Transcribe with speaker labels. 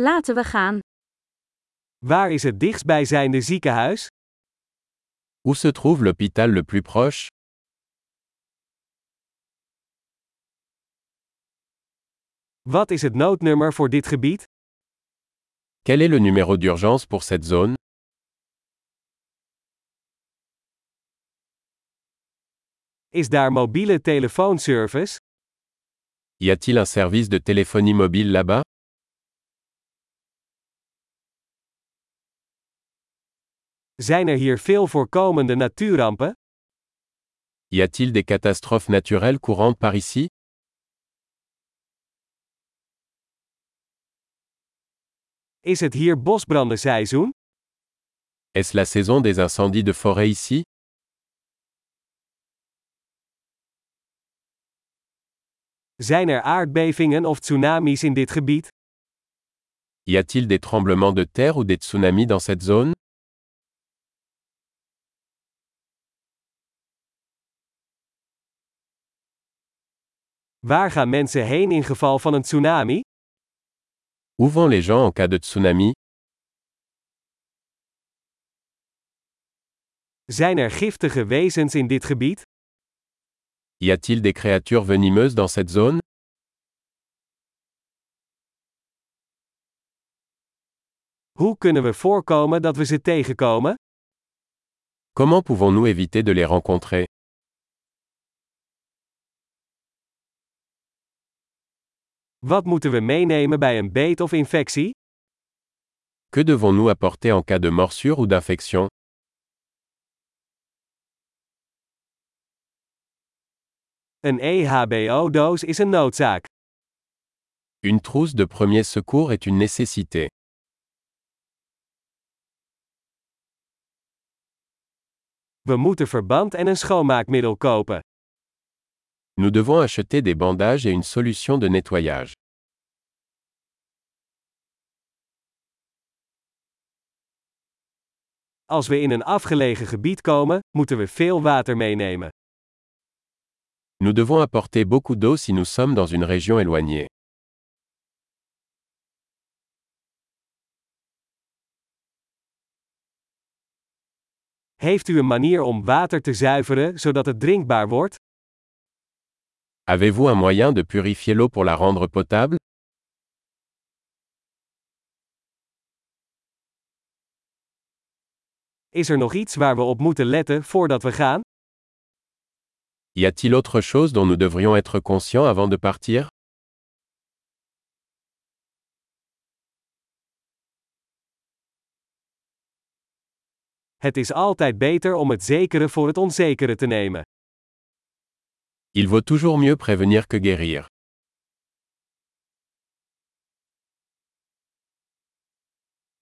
Speaker 1: Laten we gaan.
Speaker 2: Waar is het dichtstbijzijnde ziekenhuis?
Speaker 3: Où se trouve l'hôpital le plus proche
Speaker 2: Wat is het noodnummer voor dit gebied?
Speaker 3: Quel est le numéro d'urgence pour cette zone
Speaker 2: Is daar mobiele telefoonservice?
Speaker 3: Y a-t-il un service de téléphonie mobile là-bas
Speaker 2: Zijn er hier veel voorkomende natuurrampen?
Speaker 3: Y a-t-il des catastrophes naturelles courantes par ici
Speaker 2: Is het hier bosbrandenseizoen?
Speaker 3: Est-ce la saison des incendies de forêt ici
Speaker 2: Zijn er aardbevingen of tsunamis in dit gebied?
Speaker 3: Y a-t-il des tremblements de terre ou des tsunamis dans cette zone
Speaker 2: Waar gaan mensen heen in geval van een tsunami?
Speaker 3: Où vont les gens en cas de tsunami
Speaker 2: Zijn er giftige wezens in dit gebied?
Speaker 3: Y a-t-il des créatures venimeuses dans cette zone
Speaker 2: Hoe kunnen we voorkomen dat we ze tegenkomen?
Speaker 3: Comment pouvons-nous éviter de les rencontrer
Speaker 2: Wat moeten we meenemen bij een beet of infectie?
Speaker 3: Que devons-nous apporter en cas de morsure ou d'infection
Speaker 2: Een E EHBO-doos is een noodzaak.
Speaker 3: Une trousse de premier secours est une nécessité.
Speaker 2: We moeten verband en een schoonmaakmiddel kopen.
Speaker 3: Nous devons acheter des bandages et une solution de nettoyage.
Speaker 2: Als we in een afgelegen gebied komen, moeten we veel water meenemen.
Speaker 3: Nous devons apporter beaucoup d'eau si nous sommes dans une région éloignée.
Speaker 2: Heeft u een manier om water te zuiveren zodat het drinkbaar wordt?
Speaker 3: Avez-vous un moyen de purifier l'eau pour la rendre potable
Speaker 2: Is er nog iets waar we op moeten letten voordat we gaan?
Speaker 3: Y a-t-il autre chose dont nous devrions être conscients avant de partir
Speaker 2: Het is altijd beter om het zekere voor het onzekere te nemen.
Speaker 3: Il vaut toujours mieux prévenir que guérir.